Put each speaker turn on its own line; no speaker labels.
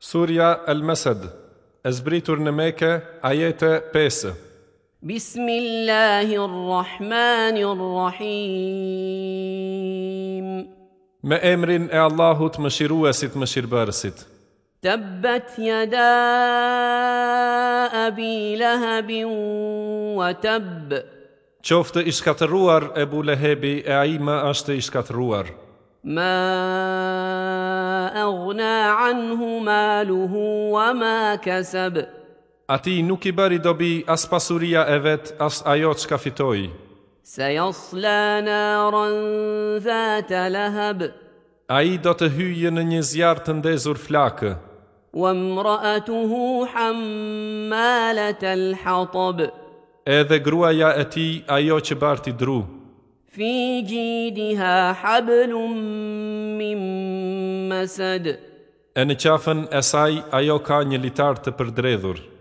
Surja El Mesed, e zbritur në Mekë, ajete 5.
بسم الله الرحمن الرحيم
Me emrin e Allahut më shiruesit më shirëbërësit.
تبت يدا أبي لهب وتب
Qoftë i shkatëruar e bulehebi e a ima është i shkatëruar.
ما أغنى عنه ماله وما كسب
Ati nuk i bëri dobi as pasuria e vetë, as ajo që ka fitoj.
سيصلى نارا ذات لهب
A i do të hyje në një zjarë të ndezur flakë,
وامرأته حمالة الحطب
edhe gruaja e ti ajo që barti dru.
في جيدها حبل من مسد
E në qafën e saj ajo ka një litar të përdredhur.